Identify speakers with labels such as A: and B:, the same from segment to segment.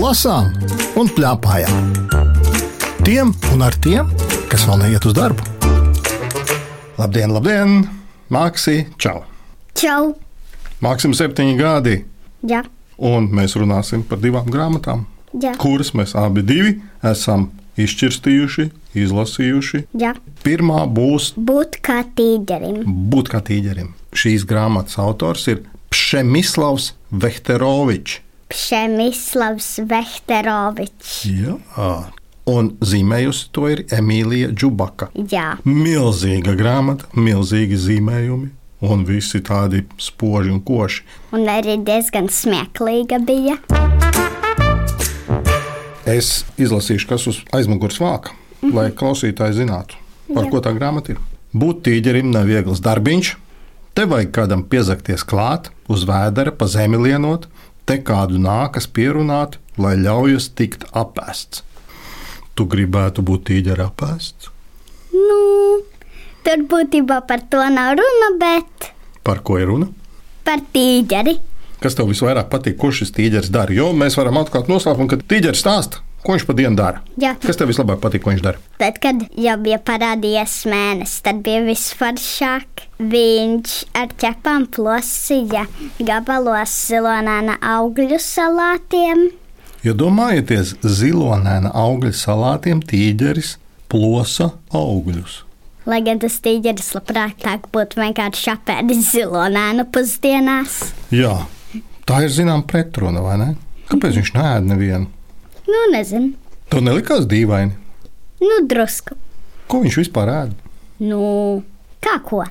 A: lasām un plakājām. Tiem un ar tiem, kas vēl neiet uz darbu. Labdien, labdien! Māksi, čau!
B: Čau!
A: Māksim septiņi gadi,
B: Jā,
A: un mēs runāsim par divām grāmatām,
B: jā,
A: kuras mēs abi divi esam izšķirstījuši, izlasījuši.
B: jā.
A: Pirmā būs
B: būt kā tīģerim.
A: būt kā tīģerim. Šīs grāmatas autors ir Pšemislavs Vehterovičs.
B: Pšemislavs Vehterovičs.
A: Jā. Un zīmējusi to ir Emīlija Džubaka.
B: Jā,
A: Milzīga grāmata, milzīgi zīmējumi un visi tādi spoži un koši.
B: un arī diezgan smieklīga bija.
A: Es izlasīšu, kas uz aizmugures vāka, mm -hmm. lai klausītāji zinātu, par Jā.
B: Jā.
A: ko tā grāmata ir. Būt tīģerim nav viegls darbiņš. Te vajag kādam piezakties klāt, uz vēdera, pa zemi lienot, te kādu nākas pierunāt, lai ļaujas tikt apēsts. Tu gribētu būt tīģerim apēsts?
B: Nu, tur būtībā par to nav runa, bet
A: Par ko ir runa?
B: par tīģeri.
A: Kas tev visvairāk patīk, ko šis tīģeris dara? Jo mēs varam atklāt noslēpumu, ka tīģeris stāsta, ko viņš pa dienu dara.
B: Jā.
A: Kas tev vislabāk patīk, ko viņš dara?
B: Tad, kad jau bija parādījies mēnesis, tad bija visforšāk. Viņš ar ķepām plosīja gabalos zilonēna augļu salātiem.
A: Iedomājieties, zilonēna augļa salātiem tīģeris plosa augļus.
B: Lai gan tas tīģeris labprātāk būtu vienkārši apēdis zilonēnu pusdienās.
A: Jā, tā ir zināmā pretruna, vai ne? Kāpēc viņš nēd nevienu?
B: Nu, nezinu,
A: Tev nelikās dīvaini.
B: nu drusku.
A: Ko viņš vispār ēd?
B: Nu, kā ko?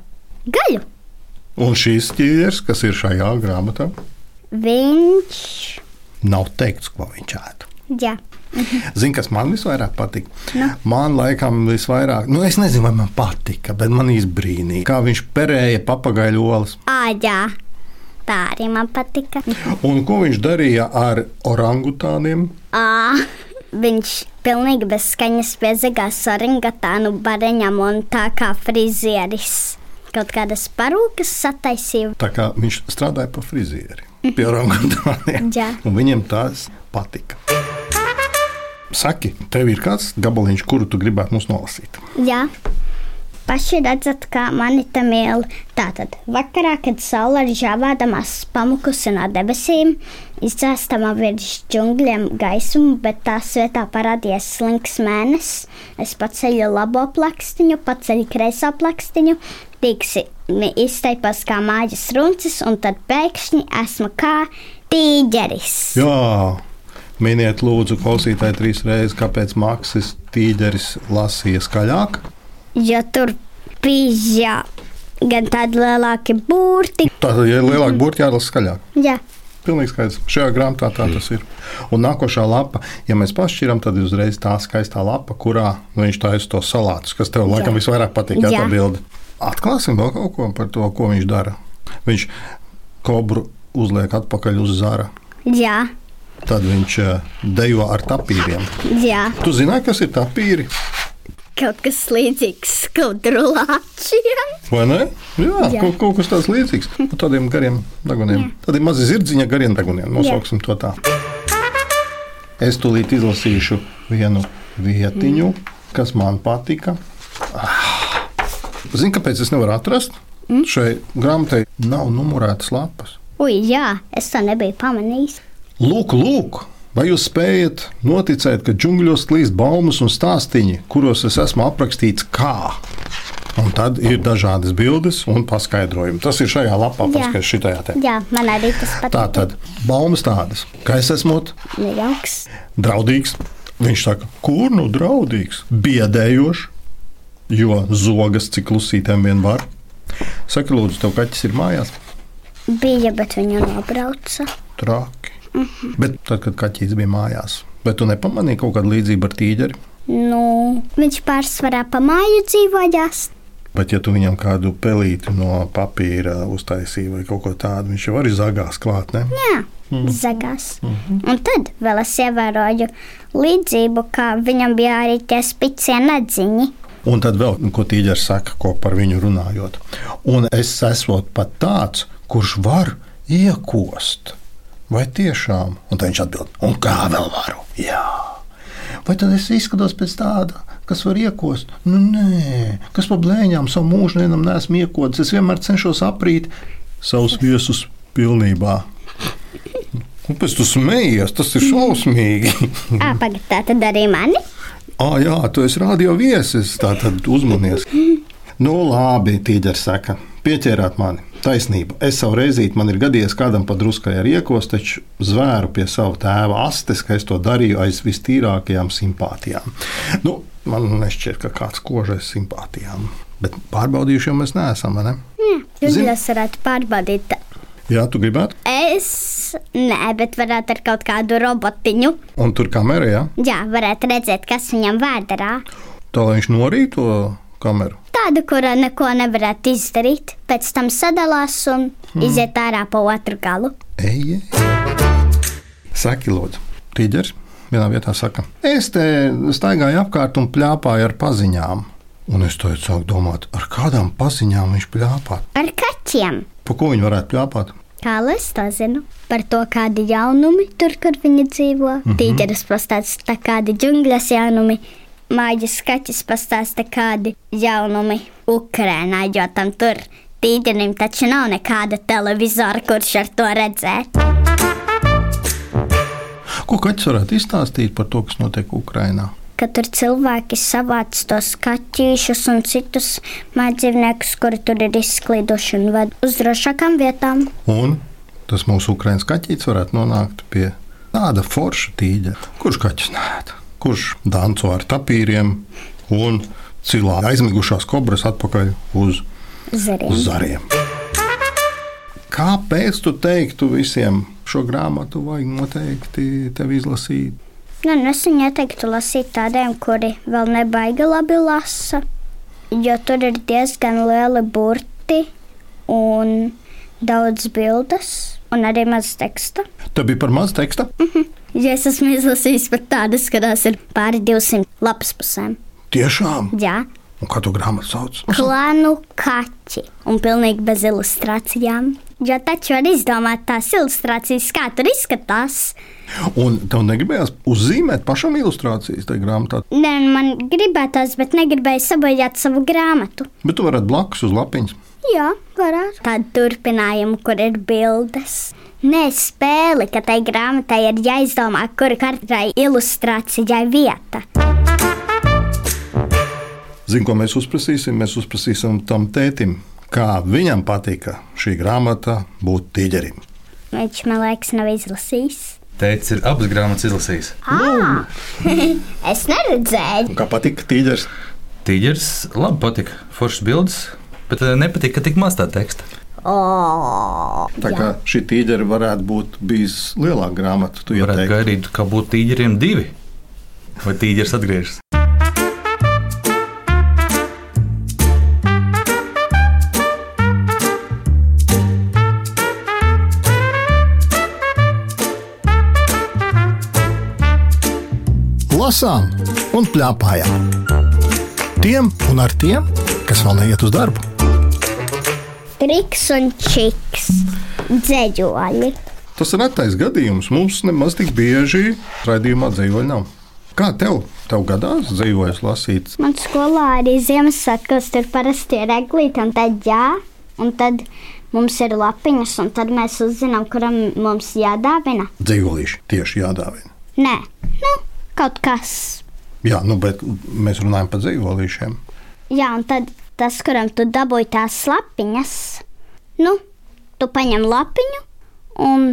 B: Gaļu!
A: Un šīs ķīļas, kas ir šajā grāmatā,
B: Viņš.
A: nav teikts, ko viņš ēd.
B: Jā,
A: Zini, kas man visvairāk patīk? Man laikam visvairāk, nu es nezinu, vai man patika, bet man izbrīnīja, kā viņš perēja papagaļolas
B: à, jā. tā arī man patika.
A: un ko viņš darīja ar orangutāniem.
B: À, viņš pilnīgi bez skaņas piezagās saringatānu bareņam un tā kā frizieris. Kaut kādas parūkas sataisīja.
A: Tā kā viņš strādāja pie frizieri, pie orangutāniem.
B: Jā.
A: Un Viņam tās patika. Saki, tev ir kāds gabaliņš, kuru tu gribētu mums nolasīt?
B: Jā, paši redzat, kā mani tam mīl. Tātad, vakarā, kad saule ir žāvādamās pamukusi no debesīm, izdzēstama virs džungļiem gaismu, bet tās vietā parādījās slinks mēnesis. Es paceļu labo plakstiņu, paceļu kreiso plakstiņu, tīksi izteipos kā mājas runcis, un tad pēkšņi esmu kā tīģeris.
A: Jā, miniet, lūdzu, klausītāji trīs reizes, kāpēc Maksis Tīģeris lasīja skaļāk.
B: Jo tur bija gan tādi lielāki burti,
A: Tātad, ja ir lielāka burbuļa, jālasa skaļāk.
B: jā.
A: Pilnīgi skaidrs. Šajā grāmatā tā tas ir. Un nākošā lapa, ja mēs pašķiram, tad ir uzreiz tā skaistā lapa, kurā viņš taisa to salātus, kas tev laikam visvairāk patīk. Jā, tā
B: Jā.
A: bilde. Atklāsim vēl kaut ko par to, ko viņš dara. Viņš kobru uzliek atpakaļ uz zara.
B: jā.
A: Tad viņš eh, dejo ar tapīriem.
B: Jā,
A: Tu zināji, kas ir tapīri?
B: kaut kas līdzīgs skudrulāčiem.
A: Vai ne? Jā,
B: Jā.
A: Jā. Kaut, kaut kas tāds līdzīgs. Nu, Tādiem gariem daguniem. Tādiem maziem zirdziņa gariem daguniem. Nosauksim to tā. Es tūlīt izlasīšu vienu vietiņu, kas man patika. Ah! Zini, kāpēc es nevaru atrast? Mm. Šai grāmatai nav numurētas lapas.
B: Ui, jā, es to nebiju pamanījis.
A: Lūk, lūk, vai jūs spējat noticēt, ka džungļos klīst baumas un stāstīņi, kuros es esmu aprakstīts kā? Un tad ir dažādas bildes un paskaidrojumi. Tas ir šajā lapā,
B: Jā.
A: kas ir šitā te.
B: Jā, man arī tas patīk.
A: Tā tad baumas tādas, ka es esmu
B: Nejauks.
A: draudīgs. Viņš saka, kur nu draudīgs, biedējošs, jo zogas cik klusītēm vien var. Saka, lūdzu, tev kaķis ir mājās.
B: Bija, bet viņu nobrauca.
A: Traki. Bet tad, kad kaķis bija mājās, bet tu nepamanīji kaut kādu līdzību ar tīģeri.
B: Nu, viņš pārsvarā pa māju dzīvojās.
A: Bet, ja tu viņam kādu pelīti no papīra uztaisīji vai kaut ko tādu, viņš jau arī zagās klāt. Ne?
B: Jā,
A: Mhm.
B: zagās. Un tad vēl es ievēroju līdzību, ka viņam bija arī tie spicie nedziņi.
A: Un tad vēl, ko tīģeris saka, ko par viņu runājot. Un es esmu pat tāds, kurš var iekost. vai tiešām? Un tad viņš atbild, un kā vēl varu? Jā. Vai tad es izskatos pēc tāda, kas var iekost? Nu, nē, kas pa blēņām savu mūžu vienam nesmu iekocis. Es vienmēr cenšos aprīt savus viesus pilnībā. Kāpēc tu smejies? Tas ir šausmīgi.
B: Ā, pagaidi, tā tad arī mani.
A: Ah, jā, tu esi radio viesis, tā tad uzmanies. Nu, labi, tīģeris saka, pieķērāt mani. Taisnība. Es savu reizīti man ir gadījies kādam padruskai ar iekos, taču zvēru pie sava tēva astes, ka es to darīju aiz vistīrākajām simpātijām. Nu, man nešķiet, ka kāds kožais simpātijām. Bet pārbaudījuši jau mēs neesam, vai ne?
B: Jūs
A: Zini-
B: varētu pārbaudīt.
A: Jā, tu gribētu.
B: Es nē, bet varētu ar kaut kādu robotiņu.
A: Un tur kamerā, jā,
B: Jā, varētu redzēt, kas viņam vēderā.
A: tā lai viņš norītu to kameru.
B: Tādu, kura neko nevarētu izdarīt, pēc tam sadalās un hmm. iziet ārā pa otru galu.
A: Ej, ej. Saki, lūdzu, tīģeris vienā vietā saka, es te staigāju apkārt un plēpāju ar paziņām. Un es to sāku domāt, ar kādām paziņām viņš plēpā.
B: Ar kaķiem!
A: Pa ko viņi varētu plēpāt?
B: Kā lai es to zinu? Par to, kādi jaunumi tur, kur viņi dzīvo. Mm -hmm. Tīģeris pastāsta, kādi džungļas jaunumi. Mājas skaķis pastāsta, kādi jaunumi Ukrainā, jo tam tur tīģerim taču nav nekāda televizora, kurš ar to redzēt.
A: Ko kaķis varētu izstāstīt par to, kas notiek Ukrajinā?
B: ka tur cilvēki savāc tos kaķīšus un citus mājdzīvniekus, kuri tur ir izsklīduši un ved uz drošākām vietām.
A: Un tas mūsu ukraiņš kaķis varētu nonākt pie tāda forša tīģa, kurš kaķis nēta, kurš danco ar tapīriem un cilā aizmigušās kobras atpakaļ uz uz
B: Zeriem.
A: zariem. Kāpēc tu teiktu visiem šo grāmatu vajag noteikti tev izlasīt?
B: Nu, nu, es viņu ieteiktu lasīt tādiem, kuri vēl nebaigi labi lasa, jo tur ir diezgan lieli burti un daudz bildes un arī maz teksta.
A: Tev bija par maz teksta?
B: Ja es esmu izlasījis pat tādas, kurās ir pāri 200 lapas pusēm.
A: Tiešām.
B: Jā,
A: Un kā tu grāmatu sauc?
B: klānu kaķi un pilnīgi bez ilustrācijām. Jo taču var izdomāt tās ilustrācijas, kā tur izskatās.
A: Un tev negribējās uzzīmēt pašam ilustrācijas tajā grāmatā.
B: Nē, man gribētās, bet negribēju sabojāt savu grāmatu.
A: Bet tu varētu blakus uz lapiņas.
B: Jā, varētu. Tādu turpinājumu, kur ir bildes. Nē, spēle, ka tai grāmatai ir jāizdomā, kur katrai ilustrācijai vieta.
A: Zini, ko mēs uzprasīsim? Mēs uzprasīsim tam tētim, kā viņam patika šī grāmata būt tīģerim.
B: Viņš man liekas, nav izlasījis.
C: Teicis, ir abas grāmatas izlasījis.
B: Ah, es neredzēju.
A: Un kā patika tīģeris?
C: Tīģeris labi patika, foršs bildes, bet eh, nepatika, ka tik maz tā teksta.
B: Oh,
A: Tā kā šī tīģeris varētu būt bijis lielāka grāmata, tu jau
C: Varētu
A: teiksi.
C: gaidīt, kā būtu tīģeriem divi. Vai tīģeris atgriežas?
A: lasām un plēpājām. Tiem un ar tiem, kas vēl neiet uz darbu.
B: Triks un čiks. Dzēļoļi.
A: Tas ir retais gadījums. Mums nemaz tik bieži raidījumā dzīvoja nav. Kā tev, tev gadās dzīvojas lasīt?
B: Man skolā arī Ziemassvētkos tur parasti ir eglīte, un tad jā, un tad mums ir lapiņas, un tad mēs uzzinām, kuram mums jādāvina.
A: Dzīvolīši tieši jādāvina.
B: Nē, nu, kaut kas.
A: Jā, nu, bet mēs runājam par dzīvolīšiem.
B: Jā, un tad tas, kuram tu dabūji tās lapiņas, nu, tu paņem lapiņu, un,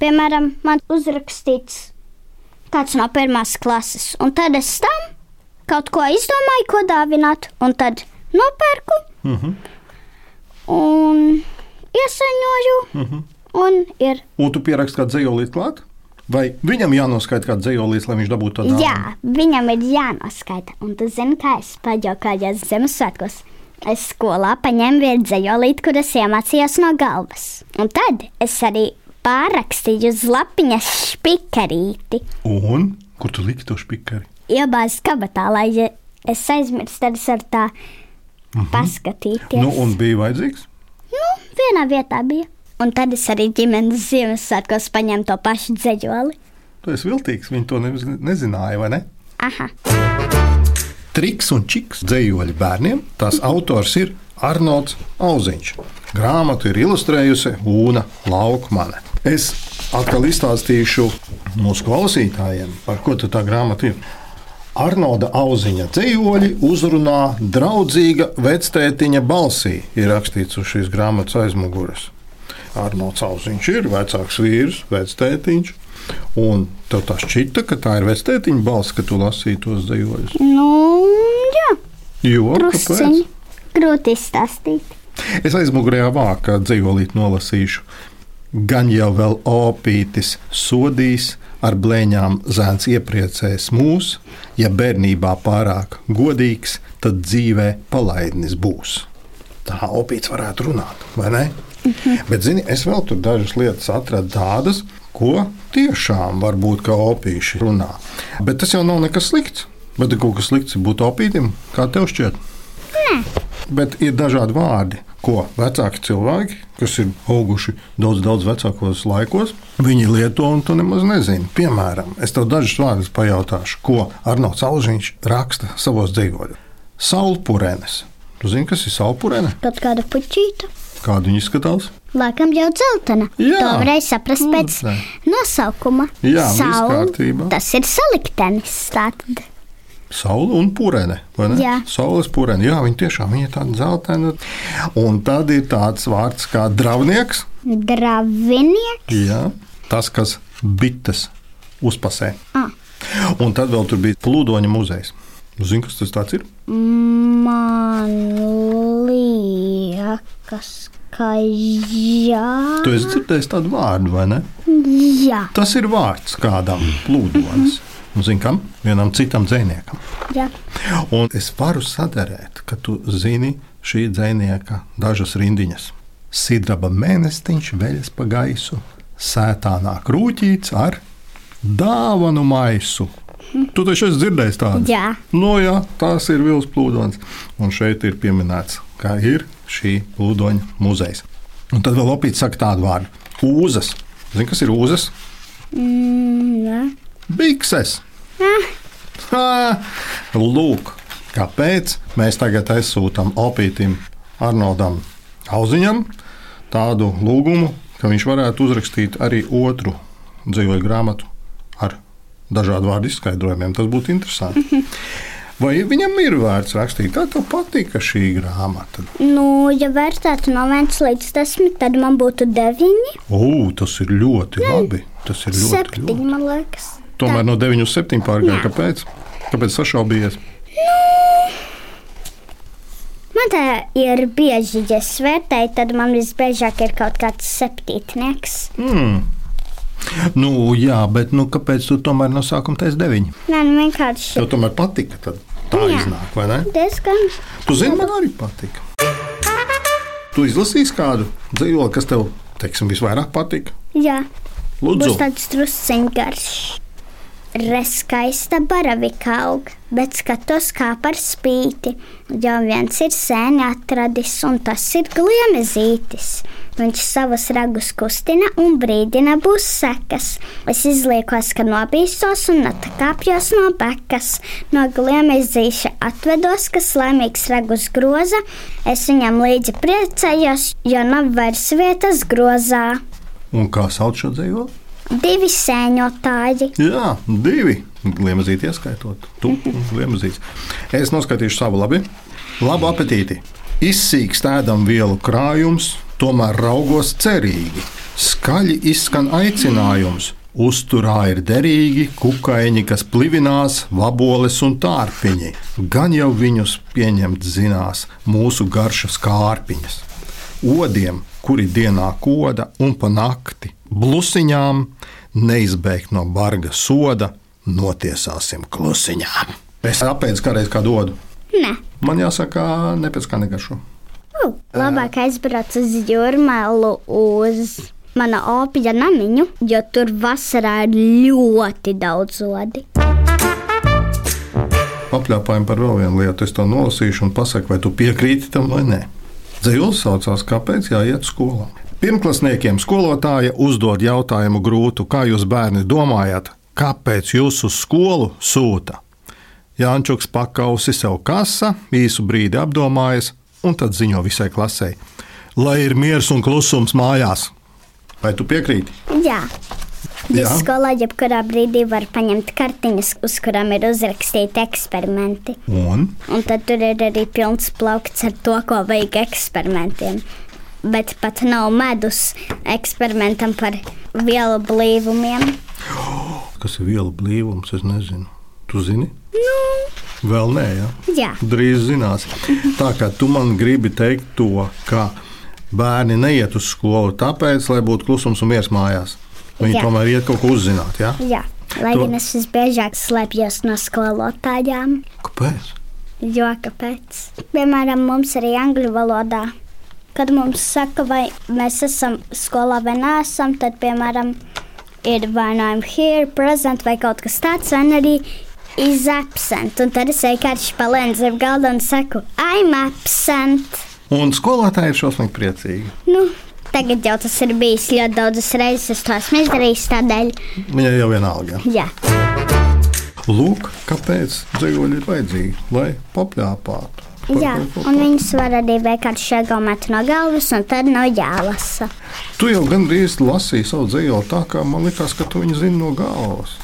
B: piemēram, man uzrakstīts kāds no pirmās klases, un tad es tam kaut ko izdomāju, ko dāvināt, un tad nopērku. Uh -huh. Un iesaņoju, uh -huh. un ir.
A: Un tu pierakst kādu dzīvolīti klāt? Vai viņam jānoskaita kāds dzīvolīts, lai viņš dabūtu tādu?
B: Jā, viņam ir jānoskaita. Un tu zini, kā es paģokāju Ziemassvētkos. Es skolā paņēmu vienu dzīslīti, kuras iemācījos no galvas. Un tad es arī pārrakstīju uz lapiņas špikarīti.
A: Un kur tu liki to spīkeri?
B: iebāzts kabatā, lai ja es aizmirstu, tad es varu tā paskatīties.
A: Nu, Mhm. un bija vajadzīgs.
B: nu, vienā vietā bija. Un tad es arī ģimenes Ziemassvētkos paņēmu to pašu dzeģoli.
A: Tu esi viltīgs, viņi to nemaz nezināja, vai ne?
B: Aha,
A: Triks un čiks dzējoļi bērniem. Tās autors ir Arnolds Auziņš. Grāmatu ir ilustrējusi Una Laukmane. Es atkal izstāstīšu mūsu klausītājiem, par ko tad tā grāmata ir. Arnolda Auziņa dzējoļi uzrunā draudzīga vectētiņa balsī, ir rakstīts uz šīs grāmatas aizmugures. Arnolds Auziņš ir vecāks vīrs, vectētiņš. Un tev tā šķita, ka tā ir vectētiņa balss, ka tu lasīji tos dzējoļus.
B: nu, jā,
A: Jo, Nu, kāpēc?
B: drusciņi. Grūti izstāstīt.
A: Es aizmugurējā vākā dzīvolīt nolasīšu. Gan jau vēl opītis sodīs, ar blēņām zēns iepriecēs mūs, ja bērnībā pārāk godīgs, tad dzīvē palaidnis būs. Tā opīts varētu runāt, vai ne? Bet, zini, es vēl tur dažas lietas atradu tādas, ko tiešām var būt kā opīši runā. Bet tas jau nav nekas slikts. Bet kaut kas slikts ir būt opītam, kā tev šķiet? Bet ir dažādi vārdi, ko vecāki cilvēki, kas ir auguši daudz, daudz vecākos laikos, viņi lieto un to nemaz nezina. Piemēram, es tev dažus vārdus pajautāšu, ko Arnolds Alžiņš raksta savos dzīvojumos. Saulpūrēnes. Tu zini, kas ir saulpūrēne?
B: Kaut kāda puķīta.
A: Kādu viņa izskatās?
B: Laikam jau dzeltena.
A: Jā.
B: To varēja saprast pēc
A: Dzeltena.
B: nosaukuma.
A: Jā, viss
B: Saule,
A: kārtībā.
B: Tas ir saliktenis. Tātad.
A: Saula un pūrēne. vai ne?
B: Jā.
A: Saules pūrēne. Jā, viņa tiešām viņa ir tāda zeltaina. Un tad ir tāds vārds kā dravnieks.
B: Dravinieks.
A: Jā, tas, kas bites uzpasē.
B: Ah.
A: Un tad vēl tur bija plūdoņa muzejs. Nu, Zini, kas tas tāds ir?
B: Man liekas, ka jā.
A: Tu esi dzirdējis tādu vārdu, vai ne?
B: Jā,
A: Tas ir vārds kādam
B: Mhm.
A: plūdonis. Un zini, kam? Vienam citam dzēniekam.
B: jā.
A: Un es varu sadarēt, ka tu zini šī dzēnieka dažas rindiņas. Sidraba mēnestiņš veļas pa gaisu, sētā nāk rūtīts ar dāvanu maisu. Tu taču esi dzirdējis tādu?
B: Mhm. Jā.
A: No Nu, jā, tās ir vilnas plūdoņas. Un šeit ir pieminēts, kā ir šī plūdoņa muzejs. Un tad vēl opīts saka tādu vārdu - ūzas. Zini, kas ir ūzas?
B: Mm, jā.
A: Bikses! Ha, Lūk, kāpēc mēs tagad aizsūtām opītam Arnoldam Hauziņam tādu lūgumu, ka viņš varētu uzrakstīt arī otru dzīvoju grāmatu ar dažādu vārdu izskaidrojumiem. Tas būtu interesanti. Vai viņam ir vērts rakstīt? Kā tev patika šī grāmata?
B: Nu, ja vērtētu no 1 līdz 10, tad man būtu 9,
A: O, tas ir ļoti labi. Tas ir ļoti
B: 7,
A: labi.
B: man liekas.
A: Tomēr no 9 līdz 7 pārgāja. Kāpēc? Kāpēc sašaubījies?
B: Man tā ir bieži, ja es vērtēju, tad man visbiežāk ir kaut kāds septītnieks.
A: Nu, jā, bet nu, kāpēc tu tomēr no sākuma taisīji deviņi?
B: Nē, nu vienkārši
A: Tev tomēr patika. Tad. Tā
B: Jā.
A: iznāk, vai ne?
B: diezgan.
A: Tu zini, man arī patika. Tu izlasīsi kādu dzīvokli, kas tev teiksim, visvairāk patika.
B: Jā,
A: Lūdzu,
B: būs tāds drusciņš garš. Reskaista baravika aug, bet skatos kā par spīti, jo viens ir sēni atradis, un tas ir gliemezītis. Viņš savus ragus kustina un brīdina būs sekas. Es izliekos, ka nobīstos un atkāpjos no bekas. No gliemezīša atvedos, kas laimīgs ragus groza. Es viņam līdzi priecājos, jo nav vairs vietas grozā.
A: un kā sauc šo dzīvokli?
B: Divi sēņotāji.
A: Jā, divi. Gliemezīti ieskaitot. Tu un gliemezīts. Es noskatīšu savu labi. Labu apetīti! Izsīkst ēdam vielu krājums, tomēr raugos cerīgi. Skaļi izskan aicinājums. Uzturā ir derīgi kukaiņi, kas plivinās, vaboles un tārpiņi. Gan jau viņus pieņemt zinās mūsu garšas kārpiņas odiem, kuri dienā koda un pa nakti blusiņām, neizbēgt no barga soda, notiesāsim klusiņām. Es apēdu kādreiz kādu odu.
B: Nē.
A: Man jāsaka, nepēc kā negaršo.
B: Uh, labāk aizbraukt uz jūrmālu, uz mana opija namiņu, jo tur vasarā ir ļoti daudz zodi.
A: Papļāpājam par vēl vienu lietu. Es to nolasīšu un pasaku, vai tu piekrīti tam vai nē. Dzīvlis saucās, kāpēc jāiet skolā. Pirmklasniekiem skolotāja uzdod jautājumu grūtu, kā jūs bērni domājat, kāpēc jūs uz skolu sūta? Jančuks pakausi sev kasa, īsu brīdi apdomājas un tad ziņo visai klasē, lai ir miers un klusums mājās. Vai tu piekrīti?
B: Jā.
A: Jā.
B: Jūs skolā jebkurā brīdī var paņemt kartiņas, uz kurām ir uzrakstīti eksperimenti.
A: Un
B: Un tad tur ir arī pilns plaukts ar to, ko vajag eksperimentiem. Bet pat nav medus eksperimentam par vielu blīvumiem.
A: kas ir vielu blīvums, es nezinu. Tu zini? Nu. Vēl nē, jā.
B: Jā,
A: Drīz zinās. Tā kā tu man gribi teikt to, ka bērni neiet uz skolu tāpēc, lai būtu klusums un miers mājās. Viņi
B: Jā.
A: jā. tomēr iet kaut ko uzzināt. Jā?
B: jā. Lai
A: To-
B: gan es visbiežāk slēpjos no skolotājām,
A: Kāpēc?
B: jo kāpēc? Piemēram, mums arī angļu valodā. Kad mums saka, vai mēs esam skolā vai nesam, tad, piemēram, ir vai nu I'm here, present vai kaut kas tāds, vai nu arī is absent. Un tad es vienkārši palēnu zem galda un saku, I'm absent.
A: Un skolotāji ir šausmīgi priecīgi.
B: Nu, tagad jau tas ir bijis ļoti daudzas reizes, es to esmu izdarījis tādēļ.
A: Viņai jau vienalga.
B: Jā.
A: Lūk, kāpēc dzīvoļi ir vajadzīgi, lai papļāpātu. par
B: Jā,
A: kaut ko.
B: un viņas var arī vienkārši iegūmēt no galvas, un tad nav jālasa.
A: Tu jau gandrīz lasīji savu dzīvoju, tā kā man liekas, ka tu viņu zini no galvas.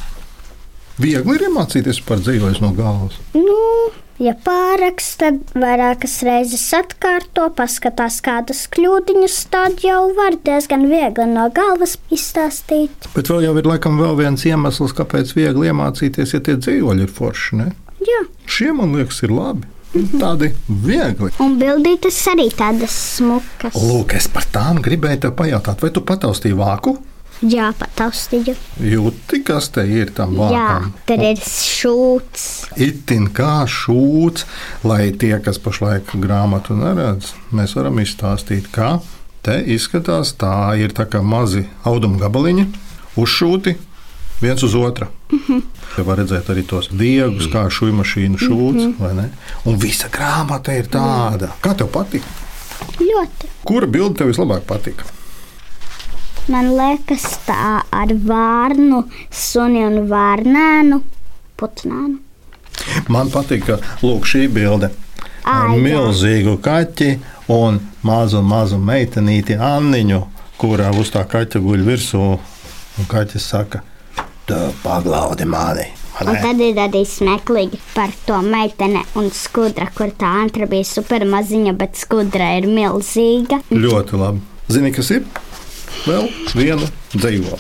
A: Viegli ir iemācīties par dzīvoju no galvas.
B: Nu, ja pāraksta, tad vairākas reizes atkārto, paskatās kādas kļūdiņas, tad jau var diezgan viegli no galvas izstāstīt.
A: Bet vēl jau ir laikam vēl viens iemesls, kāpēc viegli iemācīties, ja tie dzīvoļi ir forši. Ne?
B: Jā.
A: Šie man liekas ir labi. Tādi viegli.
B: Un bildītas arī tādas smukas.
A: Lūk, es par tām gribēju te pajautāt, vai tu pataustīji vāku?
B: Jā, pataustīju.
A: Jūti, kas te ir tam
B: Jā,
A: vākam?
B: tad ir šūts.
A: itin kā šūts, lai tie, kas pašlaik grāmatu neredz, mēs varam izstāstīt, kā te izskatās. Tā ir tā kā mazi auduma gabaliņi, uzšūti viens uz otru. Te var redzēt arī tos diegus, kā šūnu mašīnu šūts, vai ne? Un visa grāmata ir tāda. Kā tev patīk?
B: Ļoti.
A: Kura bilde tev vislabāk patīk?
B: Man liekas, tā ar vārnu, suni un vārnēnu, putnēnu.
A: Man patīk, ka lūk, šī bilde. Ar
B: Ai, jā.
A: milzīgu kaķi un mazu, mazu meitenīti Anniņu, kurā uz tā kaķa guļ virsū. Un kaķis saka, tu paglaudi mani. vai
B: Un
A: ne?
B: tad ir arī smieklīgi par to meiteni un skudra, kur tā antra bija super maziņa, bet skudra ir milzīga.
A: Ļoti labi. Zini, kas ir? Vēl viena dzīvo.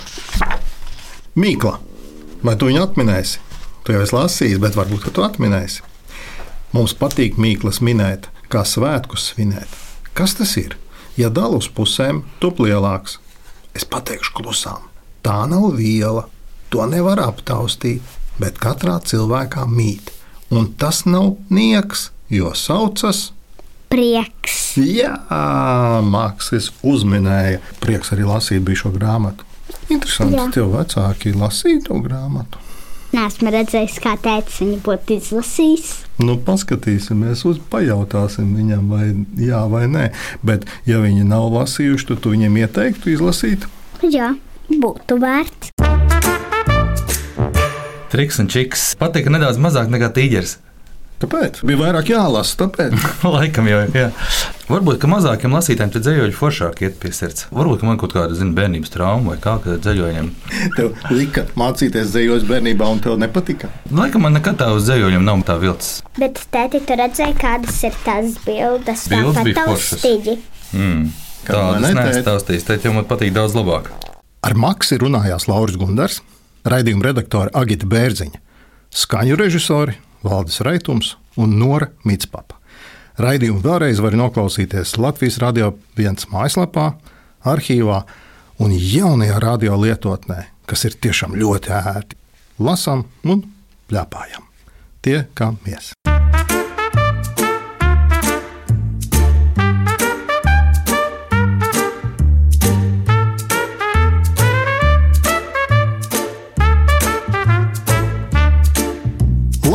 A: Mīkla. Vai tu viņu atminēsi? Tu jau esi lasījis, bet varbūt ka tu atminēsi. Mums patīk mīklas minēt, kā svētkus svinēt. Kas tas ir? Ja dalu uz pusēm, top lielāks. Es pateikšu klusām. Tā nav viela, to nevar aptaustīt, bet katrā cilvēkā mīt. Un tas nav nieks, jo saucas
B: Prieks.
A: Jā, mākslinieks uzminēja. Prieks arī lasīt bija šo grāmatu. Interesanti,
B: Jā.
A: ka tev vecāki lasīja to grāmatu.
B: Nē, esmu redzējis, kā teica, viņa būtu izlasījis.
A: Nu, paskatīsimies, uz, pajautāsim viņam, vai jā, vai nē. Bet, ja viņi nav lasījuši, tad tu viņiem ieteiktu izlasīt.
B: Jā, būtu vērts.
C: Triks un čiks. Patika nedaudz mazāk nekā tīģeris.
A: Tāpēc bija vairāk jālasa. Tāpēc.
C: Laikam jau, jā. Varbūt, ka mazākiem lasītājiem tie dzējoļi foršāk iet pie sirds. Varbūt, ka man kaut kāda, zina, bērnības trauma vai kā, ka dzējoļiem.
A: Tev lika mācīties dzīvojot bērnībā, un tev nepatika.
C: Laikam man nekad tā uz dzējoļiem nav tā vilts.
B: Bet, tēti, tu redzēji, kādas ir tās bildes, kā
C: Bildes bija
B: pataustīgi.
C: Mm.
A: Kā man
C: Tādas
A: netēt.
C: nestāstīs. Te jau man patīk daudz labāk.
A: Ar Maksu runājās Lauris Gundars, raidījuma redaktore Agita Bērziņa, skaņu režisori Valdis Raitums un Nora Mitspapa. Raidījumu vēlreiz var noklausīties Latvijas Rādio 1 mājaslapā, arhīvā un jaunajā radio lietotnē, kas ir tiešām ļoti ērti. Lasām un plēpājam. Tie kā mēs.